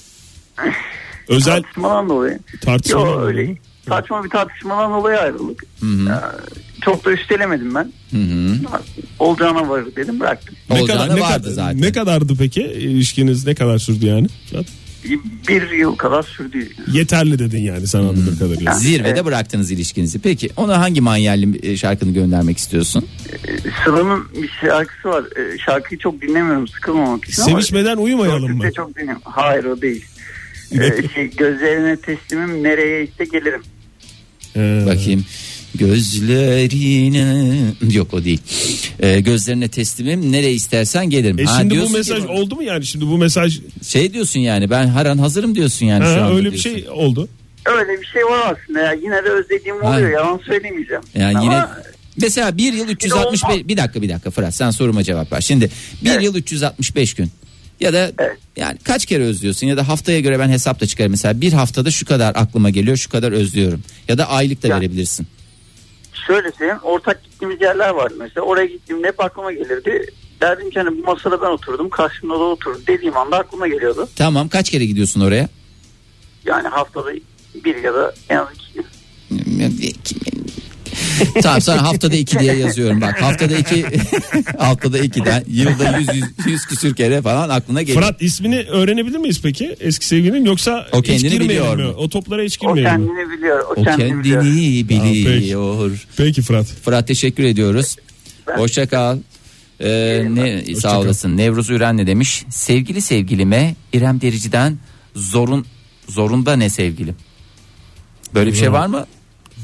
Speaker 2: Özel
Speaker 4: Tartışmadan dolayı.
Speaker 2: tartışma.
Speaker 4: Yo
Speaker 2: mı?
Speaker 4: öyle saçma bir tartışmadan dolayı ayrıldık. Ee, çok da üstelemedim ben. Olacağına varır dedim bıraktım.
Speaker 3: Olacağını
Speaker 2: ne
Speaker 3: vardı
Speaker 2: kadar-
Speaker 3: zaten.
Speaker 2: Ne kadardı peki? İlişkiniz ne kadar sürdü yani? Fırat?
Speaker 4: Bir yıl kadar sürdü.
Speaker 2: Yeterli dedin yani sen
Speaker 3: Hmm.
Speaker 2: anladığım kadarıyla.
Speaker 3: Zirvede bıraktınız ilişkinizi. Peki ona hangi manyelli e, şarkını göndermek istiyorsun?
Speaker 4: Ee, Sıla'nın bir şarkısı var. Ee, Şarkıyı çok dinlemiyorum sıkılmamak için
Speaker 2: Sevişmeden
Speaker 4: ama
Speaker 2: uyumayalım mı?
Speaker 4: Sözü de çok dinliyorum. Hayır o değil. Ee, şey, gözlerine teslimim nereye ise gelirim.
Speaker 2: Ee,
Speaker 3: Bakayım. Gözlerine yok o değil. E, gözlerine teslimim nereye istersen gelirim.
Speaker 2: E
Speaker 3: Ha,
Speaker 2: şimdi bu
Speaker 3: diyorsun ki-
Speaker 2: mesaj oldu mu yani? Şimdi bu mesaj
Speaker 3: şey diyorsun yani ben her an hazırım diyorsun yani şu
Speaker 2: ha,
Speaker 3: anda
Speaker 2: öyle bir
Speaker 3: diyorsun.
Speaker 2: şey oldu.
Speaker 4: Öyle bir şey var aslında ya. Yine de özlediğim oluyor.
Speaker 3: Hayır.
Speaker 4: Yalan söylemeyeceğim.
Speaker 3: Yani
Speaker 4: Ama
Speaker 3: yine mesela bir yıl
Speaker 4: Bir
Speaker 3: 365 bir dakika bir dakika Fırat sen soruma cevap ver. Şimdi bir
Speaker 4: Evet.
Speaker 3: yıl 365 gün ya da
Speaker 4: Evet.
Speaker 3: yani kaç kere özlüyorsun ya da haftaya göre ben hesap da çıkarım mesela bir haftada şu kadar aklıma geliyor şu kadar özlüyorum ya da aylık da
Speaker 4: Ya.
Speaker 3: verebilirsin.
Speaker 4: Şöyle söyleyeyim ortak gittiğimiz yerler vardı mesela oraya gittiğimde hep aklıma gelirdi derdim ki hani bu masada ben oturdum karşımda da oturur dediğim anda aklıma geliyordu.
Speaker 3: Tamam kaç kere gidiyorsun oraya?
Speaker 4: Yani haftada bir ya da en az iki gün.
Speaker 3: tamam sana haftada iki diye yazıyorum bak haftada iki haftada ikiden yılda yüz, yüz, yüz küsür kere falan aklına geliyor.
Speaker 2: Fırat ismini öğrenebilir miyiz peki eski sevgilinin yoksa
Speaker 3: O
Speaker 2: hiç
Speaker 3: kendini
Speaker 2: girmeyelim
Speaker 3: biliyor
Speaker 2: mi?
Speaker 3: mu?
Speaker 2: O toplara hiç
Speaker 4: O
Speaker 2: girmeyelim mi?
Speaker 4: kendini biliyor. O,
Speaker 3: o
Speaker 4: kendini, biliyor.
Speaker 3: kendini biliyor.
Speaker 2: Peki Fırat.
Speaker 3: Fırat teşekkür ediyoruz. Hoşça kal. Ee, ne sağ olasın. Nevruz Üren ne demiş? Sevgili sevgilime İrem Derici'den zorun zorunda ne sevgilim? Böyle bir şey var mı?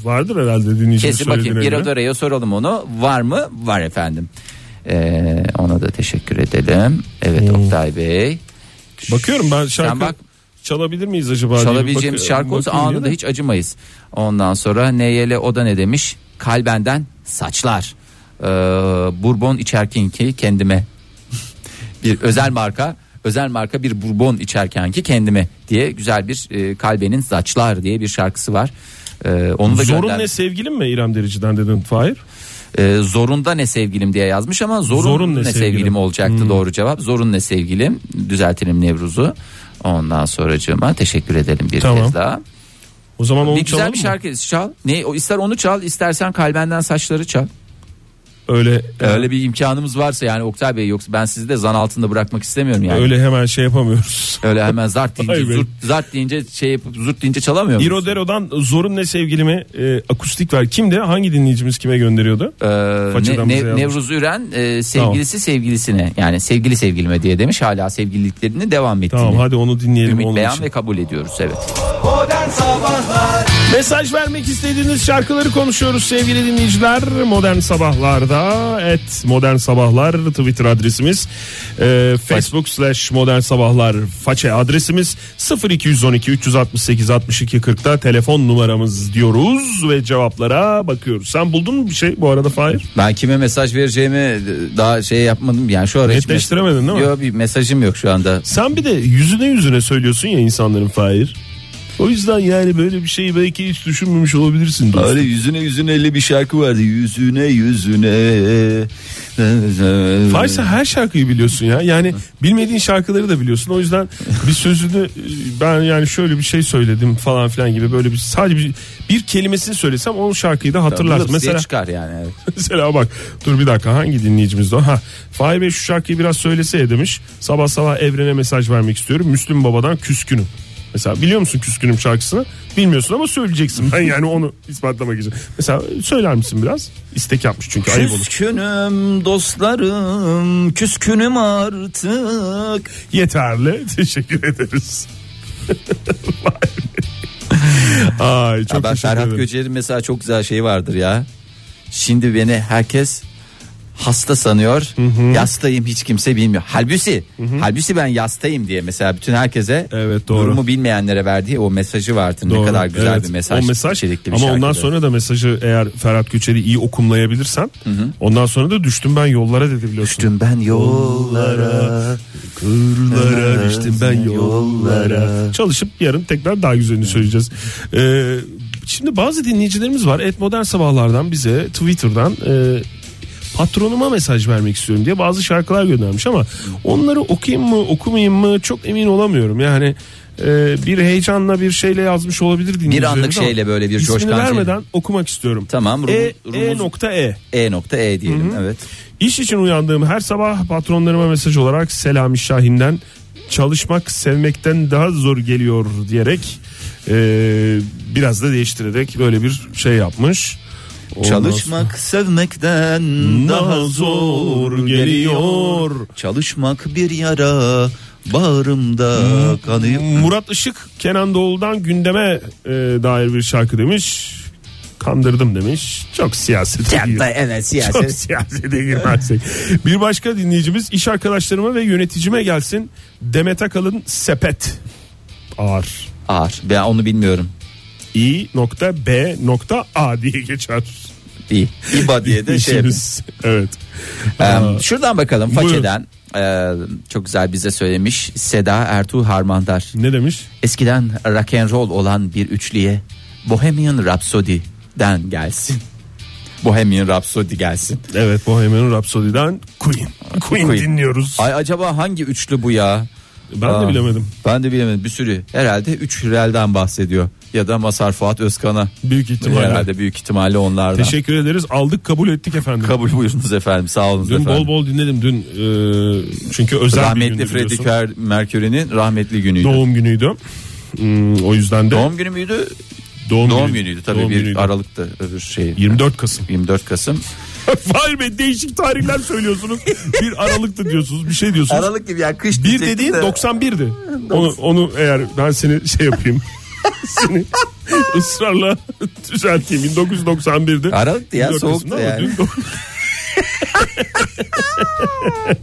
Speaker 2: Vardır herhalde dinleyicinin
Speaker 3: Kesin bakayım.
Speaker 2: söylediğine
Speaker 3: Giro
Speaker 2: göre.
Speaker 3: Dora'ya soralım onu. Var mı? Var efendim. Ee, ona da teşekkür edelim. Evet Oktay Bey.
Speaker 2: Hmm. Bakıyorum ben şarkı
Speaker 3: Sen bak.
Speaker 2: çalabilir miyiz acaba? diye bir
Speaker 3: Çalabileceğimiz
Speaker 2: bak-
Speaker 3: şarkı olsa
Speaker 2: bakayım
Speaker 3: anında
Speaker 2: diye de.
Speaker 3: hiç acımayız. Ondan sonra Neyele o da ne demiş? Kalbenden saçlar. Ee, Bourbon içerken ki kendime. bir özel marka özel marka bir bourbon içerken ki kendime diye güzel bir e, kalbenin saçlar diye bir şarkısı var. Ee, onu da
Speaker 2: Zorun
Speaker 3: gönder.
Speaker 2: ne sevgilim mi İrem Derici'den dedin Fahir?
Speaker 3: Ee, zorunda ne sevgilim diye yazmış ama zorun,
Speaker 2: Zorun
Speaker 3: ne,
Speaker 2: ne
Speaker 3: sevgilim,
Speaker 2: sevgilim Hmm.
Speaker 3: olacaktı doğru cevap. Zorun ne sevgilim düzeltelim Nevruz'u. Ondan sonracığıma teşekkür edelim bir
Speaker 2: Tamam.
Speaker 3: kez daha.
Speaker 2: O zaman onu
Speaker 3: bir güzel
Speaker 2: çalalım
Speaker 3: bir
Speaker 2: mı?
Speaker 3: şarkı çal. Ne o ister onu çal, istersen kalbenden saçları çal.
Speaker 2: Öyle,
Speaker 3: Öyle bir imkanımız varsa yani Oktay Bey yoksa ben sizi de zan altında bırakmak istemiyorum yani. Öyle,
Speaker 2: öyle hemen şey yapamıyoruz.
Speaker 3: hemen zart
Speaker 2: Vay
Speaker 3: deyince
Speaker 2: be.
Speaker 3: zurt, zart deyince şey yapıp zurt deyince çalamıyor muyuz?
Speaker 2: İrodero'dan Zorun ne sevgilimi e, akustik ver. Kimdi? Hangi dinleyicimiz kime gönderiyordu?
Speaker 3: Ee, ne,
Speaker 2: Façadan bize
Speaker 3: ne,
Speaker 2: yazmış.
Speaker 3: Nevruz Üren e, sevgilisi sevgilisine yani sevgili sevgilime diye demiş hala sevgililiklerini devam ettiğini.
Speaker 2: Tamam hadi onu dinleyelim
Speaker 3: Ümit
Speaker 2: onun
Speaker 3: beyan
Speaker 2: için.
Speaker 3: ve kabul ediyoruz evet.
Speaker 1: Modern Sabahlar
Speaker 2: Mesaj vermek istediğiniz şarkıları konuşuyoruz sevgili dinleyiciler. Modern Sabahlar'da et Modern Sabahlar Twitter adresimiz. Ee, Facebook slash Modern Sabahlar façe adresimiz 0212 368 62 40'da telefon numaramız diyoruz ve cevaplara bakıyoruz. Sen buldun mu bir şey bu arada Fahir?
Speaker 3: Ben kime mesaj vereceğimi daha şey yapmadım yani şu ara hiç
Speaker 2: Netleştiremedin
Speaker 3: mes-
Speaker 2: değil mi?
Speaker 3: Yok bir mesajım yok şu anda.
Speaker 2: Sen bir de yüzüne yüzüne söylüyorsun ya insanların Fahir. O yüzden yani böyle bir şeyi belki hiç düşünmemiş olabilirsin. dostum.
Speaker 3: Öyle yüzüne yüzüne elli bir şarkı vardı. Yüzüne yüzüne.
Speaker 2: Faysa her şarkıyı biliyorsun ya. Yani bilmediğin şarkıları da biliyorsun. O yüzden bir sözünü e, ben yani şöyle bir şey söyledim falan filan gibi böyle bir sadece bir, bir kelimesini söylesem onun şarkıyı da hatırlarsın.
Speaker 3: Lıps diye
Speaker 2: mesela
Speaker 3: çıkar yani. evet.
Speaker 2: mesela bak dur bir dakika hangi dinleyicimizdi o? Ha Fahir Bey şu şarkıyı biraz söylese ya demiş. Sabah sabah evrene mesaj vermek istiyorum. Müslüm Baba'dan Küskünüm. Mesela biliyor musun Küskünüm şarkısını? Bilmiyorsun ama söyleyeceksin. Ben yani onu ispatlamak için. Mesela söyler misin biraz? İstek yapmış çünkü ayıp olur.
Speaker 3: Küskünüm dostlarım, küskünüm artık.
Speaker 2: Yeterli. Teşekkür ederiz. Vay be. Ay çok
Speaker 3: Ya ben
Speaker 2: teşekkür
Speaker 3: Ferhat
Speaker 2: ederim.
Speaker 3: Göçer'in mesela çok güzel şeyi vardır ya. Şimdi beni herkes hasta sanıyor. Yastayım hiç kimse bilmiyor. Halbuki halbuki ben yastayım diye mesela bütün herkese
Speaker 2: Evet, doğru.
Speaker 3: durumu bilmeyenlere verdiği o mesajı vardır.
Speaker 2: Doğru,
Speaker 3: Ne kadar güzel
Speaker 2: evet.
Speaker 3: bir mesaj.
Speaker 2: O mesaj
Speaker 3: içerikli bir
Speaker 2: ama ondan
Speaker 3: şarkıdır.
Speaker 2: sonra da mesajı eğer Ferhat Göçer'i iyi okumlayabilirsen ondan sonra da düştüm ben yollara dedi biliyorsun.
Speaker 3: Düştüm ben yollara
Speaker 2: Kırlara düştüm ben yollara. Çalışıp yarın tekrar daha güzelini söyleyeceğiz. Ee, şimdi bazı dinleyicilerimiz var. Et Modern Sabahlar'dan bize Twitter'dan e, patronuma mesaj vermek istiyorum diye bazı şarkılar göndermiş ama onları okuyayım mı okumayayım mı çok emin olamıyorum. Yani e, bir heyecanla bir şeyle yazmış olabilir dinleyicilerimiz
Speaker 3: anlık
Speaker 2: ama
Speaker 3: şeyle böyle bir
Speaker 2: ismini
Speaker 3: coşkan şeyle.
Speaker 2: vermeden okumak istiyorum.
Speaker 3: Tamam, Rum-
Speaker 2: E,
Speaker 3: Rumuz-
Speaker 2: e nokta E.
Speaker 3: E nokta E diyelim evet.
Speaker 2: İş için uyandığım her sabah patronlarıma mesaj olarak Selami Şahin'den çalışmak sevmekten daha zor geliyor diyerek e, biraz da değiştirerek böyle bir şey yapmış. Ondan sonra-
Speaker 3: Çalışmak sevmekten daha
Speaker 2: Daha
Speaker 3: zor
Speaker 2: zor
Speaker 3: geliyor.
Speaker 2: geliyor.
Speaker 3: Çalışmak bir yara bağrımda kanıyor.
Speaker 2: Murat Işık Kenan Doğulu'dan gündeme e, dair bir şarkı demiş. Kandırdım demiş. Çok siyasete
Speaker 3: Çok
Speaker 2: giriyor.
Speaker 3: da evet
Speaker 2: Çok
Speaker 3: siyaset.
Speaker 2: siyasete girmezsek. bir başka dinleyicimiz iş arkadaşlarıma ve yöneticime gelsin. Demet Akalın sepet. Ağır.
Speaker 3: Ağır. Ben onu bilmiyorum.
Speaker 2: i.b.a diye geçer.
Speaker 3: İyi. İba diye de şey yapayım.
Speaker 2: İşimiz. Evet.
Speaker 3: Ee, şuradan bakalım
Speaker 2: Buyurun.
Speaker 3: façeden. Ee, çok güzel bize söylemiş Seda Ertuğ Harmandar.
Speaker 2: Ne demiş?
Speaker 3: Eskiden rock and roll olan bir üçlüye Bohemian Rhapsody'den gelsin. Bohemian Rhapsody gelsin.
Speaker 2: Evet Bohemian Rhapsody'den Queen. Queen,
Speaker 3: Queen.
Speaker 2: dinliyoruz.
Speaker 3: Ay acaba hangi üçlü bu ya?
Speaker 2: Ben de bilemedim.
Speaker 3: Ben de bilemedim. Bir sürü. Herhalde 3 Hürel'den bahsediyor. Ya da Masar Fuat Özkan'a.
Speaker 2: Büyük ihtimalle.
Speaker 3: Herhalde büyük ihtimalle onlardan.
Speaker 2: Teşekkür ederiz. Aldık kabul ettik efendim.
Speaker 3: Kabul buyurunuz efendim. Sağ olun
Speaker 2: Dün
Speaker 3: efendim.
Speaker 2: bol bol dinledim dün e, çünkü özel bir
Speaker 3: rahmetli
Speaker 2: gündü
Speaker 3: Freddie
Speaker 2: biliyorsun.
Speaker 3: Ker- Mercury'nin rahmetli günüydü. Doğum,
Speaker 2: Doğum günüydü. Hmm, o yüzden de
Speaker 3: günü müydü?
Speaker 2: doğum,
Speaker 3: Doğum günüydü tabii
Speaker 2: Doğum
Speaker 3: bir
Speaker 2: günüydü.
Speaker 3: Aralık'ta öbür şey.
Speaker 2: 24 Kasım.
Speaker 3: 24 Kasım.
Speaker 2: Vay be değişik tarihler söylüyorsunuz. bir Aralık'tı diyorsunuz bir şey diyorsunuz.
Speaker 3: Aralık gibi ya kış
Speaker 2: Bir
Speaker 3: diyecektim
Speaker 2: dediğin
Speaker 3: de.
Speaker 2: 91'di. Onu, onu eğer ben seni şey yapayım. seni ısrarla düzelteyim. 1991'di.
Speaker 3: Aralıktı ya,
Speaker 2: 24
Speaker 3: soğuktu
Speaker 2: Kasım'da ama
Speaker 3: yani.
Speaker 2: dün-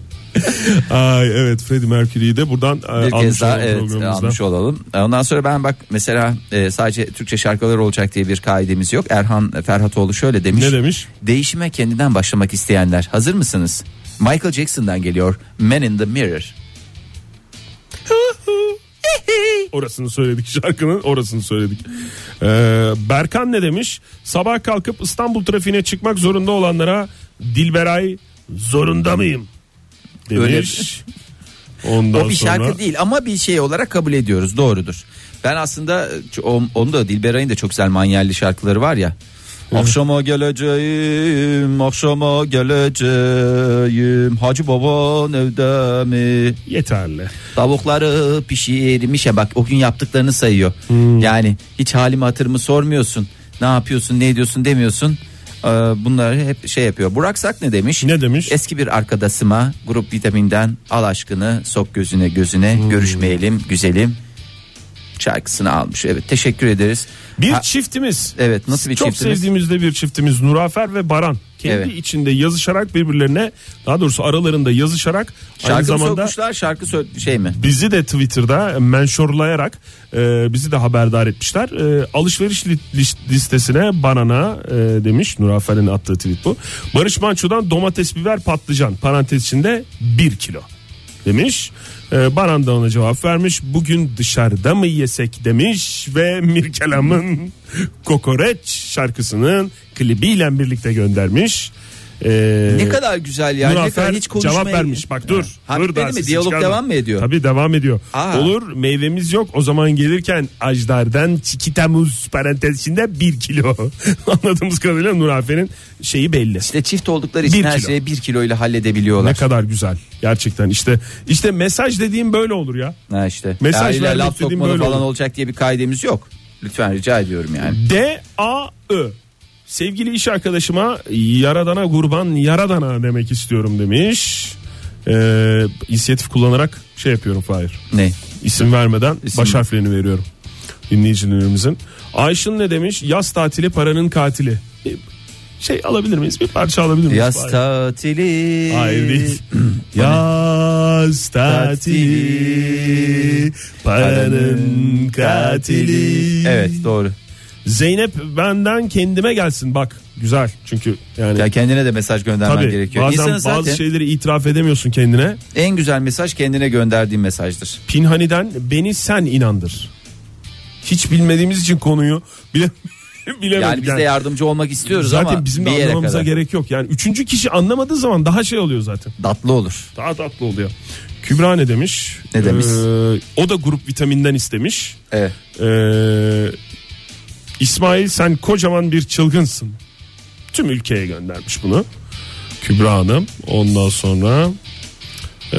Speaker 2: Ay evet Freddie Mercury'yi de buradan e,
Speaker 3: bir
Speaker 2: almış
Speaker 3: kez daha
Speaker 2: olalım
Speaker 3: evet
Speaker 2: programımızdan.
Speaker 3: almış olalım. E, Ondan sonra ben bak mesela e, sadece Türkçe şarkılar olacak diye bir kaidemiz yok. Erhan Ferhatoğlu şöyle demiş.
Speaker 2: Ne demiş?
Speaker 3: Değişime kendinden başlamak isteyenler hazır mısınız? Michael Jackson'dan geliyor Man in the Mirror.
Speaker 2: Orasını söyledik şarkının orasını söyledik. Ee, Berkan ne demiş? Sabah kalkıp İstanbul trafiğine çıkmak zorunda olanlara Dilberay zorunda mıyım? Demiş. Ondan
Speaker 3: o bir
Speaker 2: sonra...
Speaker 3: şarkı değil ama bir şey olarak kabul ediyoruz doğrudur. Ben aslında ç- on- onu da Dilberay'ın da çok güzel manyelli şarkıları var ya. Akşama geleceğim, akşama geleceğim. Hacı baban evde mi?
Speaker 2: Yeterli.
Speaker 3: Tavukları pişirmişe bak o gün yaptıklarını sayıyor.
Speaker 2: Hmm.
Speaker 3: Yani hiç halimi hatırımı sormuyorsun. Ne yapıyorsun ne ediyorsun demiyorsun. Ee, Bunları hep şey yapıyor. Burak Sak ne demiş?
Speaker 2: Ne demiş?
Speaker 3: Eski bir arkadaşıma grup vitaminden al aşkını sok gözüne gözüne
Speaker 2: Hmm.
Speaker 3: görüşmeyelim güzelim şarkısını almış. Evet teşekkür ederiz.
Speaker 2: Bir
Speaker 3: Ha,
Speaker 2: çiftimiz.
Speaker 3: Evet, nasıl bir
Speaker 2: Çok
Speaker 3: çiftimiz?
Speaker 2: sevdiğimizde bir çiftimiz Nurafer ve Baran. Kendi
Speaker 3: Evet.
Speaker 2: içinde yazışarak birbirlerine daha doğrusu aralarında yazışarak aynı
Speaker 3: şarkı mı
Speaker 2: zamanda
Speaker 3: sokmuşlar şarkı sö- şey mi?
Speaker 2: bizi de Twitter'da menşorlayarak e, bizi de haberdar etmişler. E, alışveriş li- liş- listesine banana e, demiş Nurafer'in attığı tweet bu. Barış Manço'dan domates, biber, patlıcan parantez içinde 1 kilo demiş. E, Baran da ona cevap vermiş. Bugün dışarıda mı yesek demiş ve Mirkelam'ın Kokoreç şarkısının klibiyle birlikte göndermiş. E,
Speaker 3: Ne kadar güzel ya. ne kadar
Speaker 2: Muzaffer
Speaker 3: hiç konuşmayı...
Speaker 2: cevap vermiş. Bak dur.
Speaker 3: Ha,
Speaker 2: dur
Speaker 3: bitmedi
Speaker 2: daha
Speaker 3: mi?
Speaker 2: sesi
Speaker 3: Diyalog
Speaker 2: çıkarma.
Speaker 3: devam mı ediyor?
Speaker 2: Tabii devam ediyor.
Speaker 3: Aa.
Speaker 2: Olur meyvemiz yok. O zaman gelirken ajdardan çikitamuz parantez içinde 1 kilo. Anladığımız kadarıyla Nurafe'nin şeyi belli.
Speaker 3: İşte çift oldukları için
Speaker 2: Bir
Speaker 3: her
Speaker 2: kilo.
Speaker 3: şeyi bir kilo ile
Speaker 2: Ne
Speaker 3: halledebiliyorlar.
Speaker 2: kadar güzel. Gerçekten işte işte mesaj dediğim böyle olur ya.
Speaker 3: Ha işte.
Speaker 2: Mesaj
Speaker 3: Mesaj
Speaker 2: vermek
Speaker 3: laf
Speaker 2: dediğim
Speaker 3: sokmalı
Speaker 2: böyle
Speaker 3: falan
Speaker 2: olur.
Speaker 3: olacak diye bir kaidemiz yok. Lütfen rica ediyorum yani.
Speaker 2: D A Ö. Sevgili iş arkadaşıma yaradana kurban yaradana demek istiyorum demiş. Ee, inisiyatif kullanarak şey yapıyorum Fahir.
Speaker 3: Ne?
Speaker 2: İsim vermeden
Speaker 3: İsim.
Speaker 2: baş harflerini veriyorum dinleyicilerimizin. Ayşın ne demiş? Yaz tatili paranın katili. Bir şey alabilir miyiz? Bir parça alabilir miyiz?
Speaker 3: Yaz
Speaker 2: Hayır.
Speaker 3: tatili.
Speaker 2: Hayır değil. Yaz tatili paranın katili.
Speaker 3: Evet doğru.
Speaker 2: Zeynep benden kendime gelsin bak. Güzel çünkü yani
Speaker 3: Ya kendine de mesaj göndermen
Speaker 2: tabii
Speaker 3: gerekiyor.
Speaker 2: bazen
Speaker 3: İnsanın
Speaker 2: bazı şey-
Speaker 3: zaten
Speaker 2: şeyleri itiraf edemiyorsun kendine.
Speaker 3: en güzel mesaj kendine gönderdiğin mesajdır.
Speaker 2: Pinhani'den beni sen inandır. Hiç bilmediğimiz için konuyu bile bilemedik.
Speaker 3: Yani biz de yardımcı olmak istiyoruz
Speaker 2: zaten
Speaker 3: ama
Speaker 2: bizim
Speaker 3: bir
Speaker 2: de
Speaker 3: yere
Speaker 2: anlamamıza
Speaker 3: kadar.
Speaker 2: gerek yok. Yani üçüncü kişi anlamadığı zaman daha şey oluyor zaten.
Speaker 3: Tatlı olur.
Speaker 2: Daha tatlı oluyor. Kübra ne demiş?
Speaker 3: Ne demiş?
Speaker 2: Ee, o da grup vitaminden istemiş.
Speaker 3: Evet.
Speaker 2: Ee, İsmail sen kocaman bir çılgınsın. Tüm ülkeye göndermiş bunu. Kübra Hanım. Ondan sonra ee,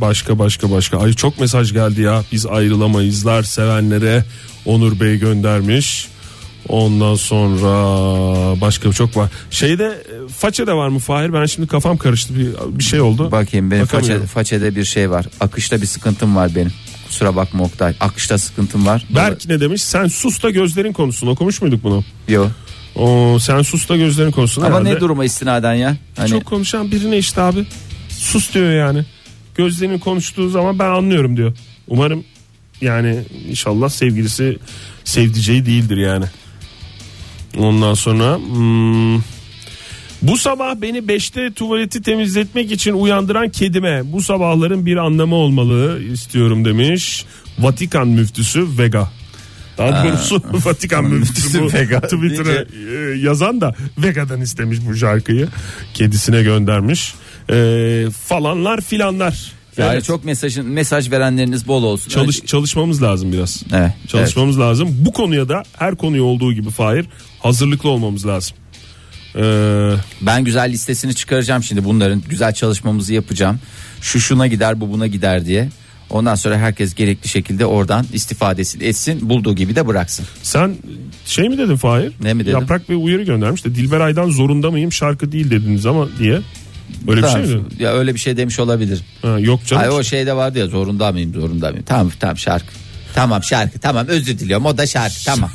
Speaker 2: başka başka başka. Ay çok mesaj geldi ya. Biz ayrılamayızlar sevenlere Onur Bey göndermiş. Ondan sonra başka çok var. Şeyde e, façe de var mı Fahir? Ben şimdi kafam karıştı bir, bir şey oldu.
Speaker 3: Bakayım benim
Speaker 2: Bakamıyorum.
Speaker 3: façe, façede bir şey var. Akışta bir sıkıntım var benim. Kusura bakma Oktay. Akışta sıkıntım var.
Speaker 2: Berk ne demiş? Sen sus da gözlerin konusunu okumuş muyduk bunu?
Speaker 3: Yok.
Speaker 2: O sen sus da gözlerin konuşsun
Speaker 3: Ama
Speaker 2: herhalde.
Speaker 3: ne duruma istinaden ya? Hani
Speaker 2: Çok konuşan birine işte abi. Sus diyor yani. Gözlerini konuştuğu zaman ben anlıyorum diyor. Umarım yani inşallah sevgilisi sevdiceği değildir yani. Ondan sonra hmm, bu sabah beni 5'te tuvaleti temizletmek için uyandıran kedime bu sabahların bir anlamı olmalı istiyorum demiş. Vatikan müftüsü Vega. Daha doğrusu Vatikan müftüsü bu
Speaker 3: Vega
Speaker 2: Twitter'a
Speaker 3: deyince-
Speaker 2: e, yazan da Vega'dan istemiş bu şarkıyı. Kedisine göndermiş. e, falanlar filanlar.
Speaker 3: Yani
Speaker 2: Evet.
Speaker 3: çok mesajın mesaj verenleriniz bol olsun.
Speaker 2: Çalış
Speaker 3: Önce-
Speaker 2: çalışmamız lazım biraz.
Speaker 3: Evet,
Speaker 2: Çalışmamız lazım. Bu konuya da her konuya olduğu gibi Fahir hazırlıklı olmamız lazım. Ee,
Speaker 3: Ben güzel listesini çıkaracağım şimdi bunların güzel çalışmamızı yapacağım. Şu şuna gider bu buna gider diye. Ondan sonra herkes gerekli şekilde oradan istifadesini etsin bulduğu gibi de bıraksın.
Speaker 2: sen şey mi dedin Fahir?
Speaker 3: Ne mi dedim?
Speaker 2: Yaprak bir uyarı göndermiş de Dilber Ay'dan zorunda mıyım şarkı değil dediniz ama diye. Öyle bir şey mi şey. dedin?
Speaker 3: ya öyle bir şey demiş olabilir.
Speaker 2: Ha, yok canım.
Speaker 3: Ay o şeyde vardı ya zorunda mıyım zorunda mıyım. Tamam tamam şarkı. Tamam şarkı tamam özür diliyorum o da şarkı tamam.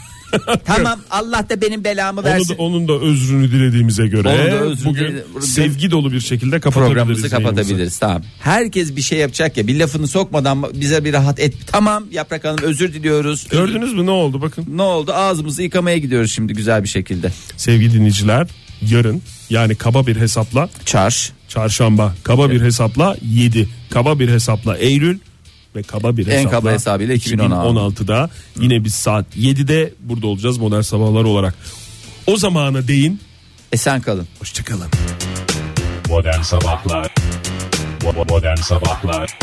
Speaker 3: tamam Allah da benim belamı
Speaker 2: Onu da,
Speaker 3: versin.
Speaker 2: onun da özrünü dilediğimize
Speaker 3: Onun
Speaker 2: göre
Speaker 3: da özrü
Speaker 2: bugün
Speaker 3: dile-
Speaker 2: sevgi dolu bir şekilde kapatabiliriz.
Speaker 3: programımızı
Speaker 2: yayınımızı.
Speaker 3: kapatabiliriz tamam. Herkes bir şey yapacak ya bir lafını sokmadan bize bir rahat et. Tamam Yaprak Hanım özür diliyoruz.
Speaker 2: Gördünüz mü ne oldu bakın.
Speaker 3: Ne oldu? Ağzımızı yıkamaya gidiyoruz şimdi güzel bir şekilde.
Speaker 2: Sevgili dinleyiciler yarın yani kaba bir hesapla
Speaker 3: Çarş.
Speaker 2: çarşamba kaba bir hesapla 7 kaba bir hesapla Eylül ve kaba bir
Speaker 3: En
Speaker 2: hesapla
Speaker 3: kaba hesabıyla 2016.
Speaker 2: 2016'da yine biz saat 7'de burada olacağız modern sabahlar olarak. O zamana değin
Speaker 3: Esen kalın.
Speaker 2: hoşçakalın.
Speaker 5: Modern Sabahlar Bo- Modern Sabahlar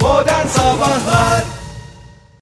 Speaker 1: Modern Sabahlar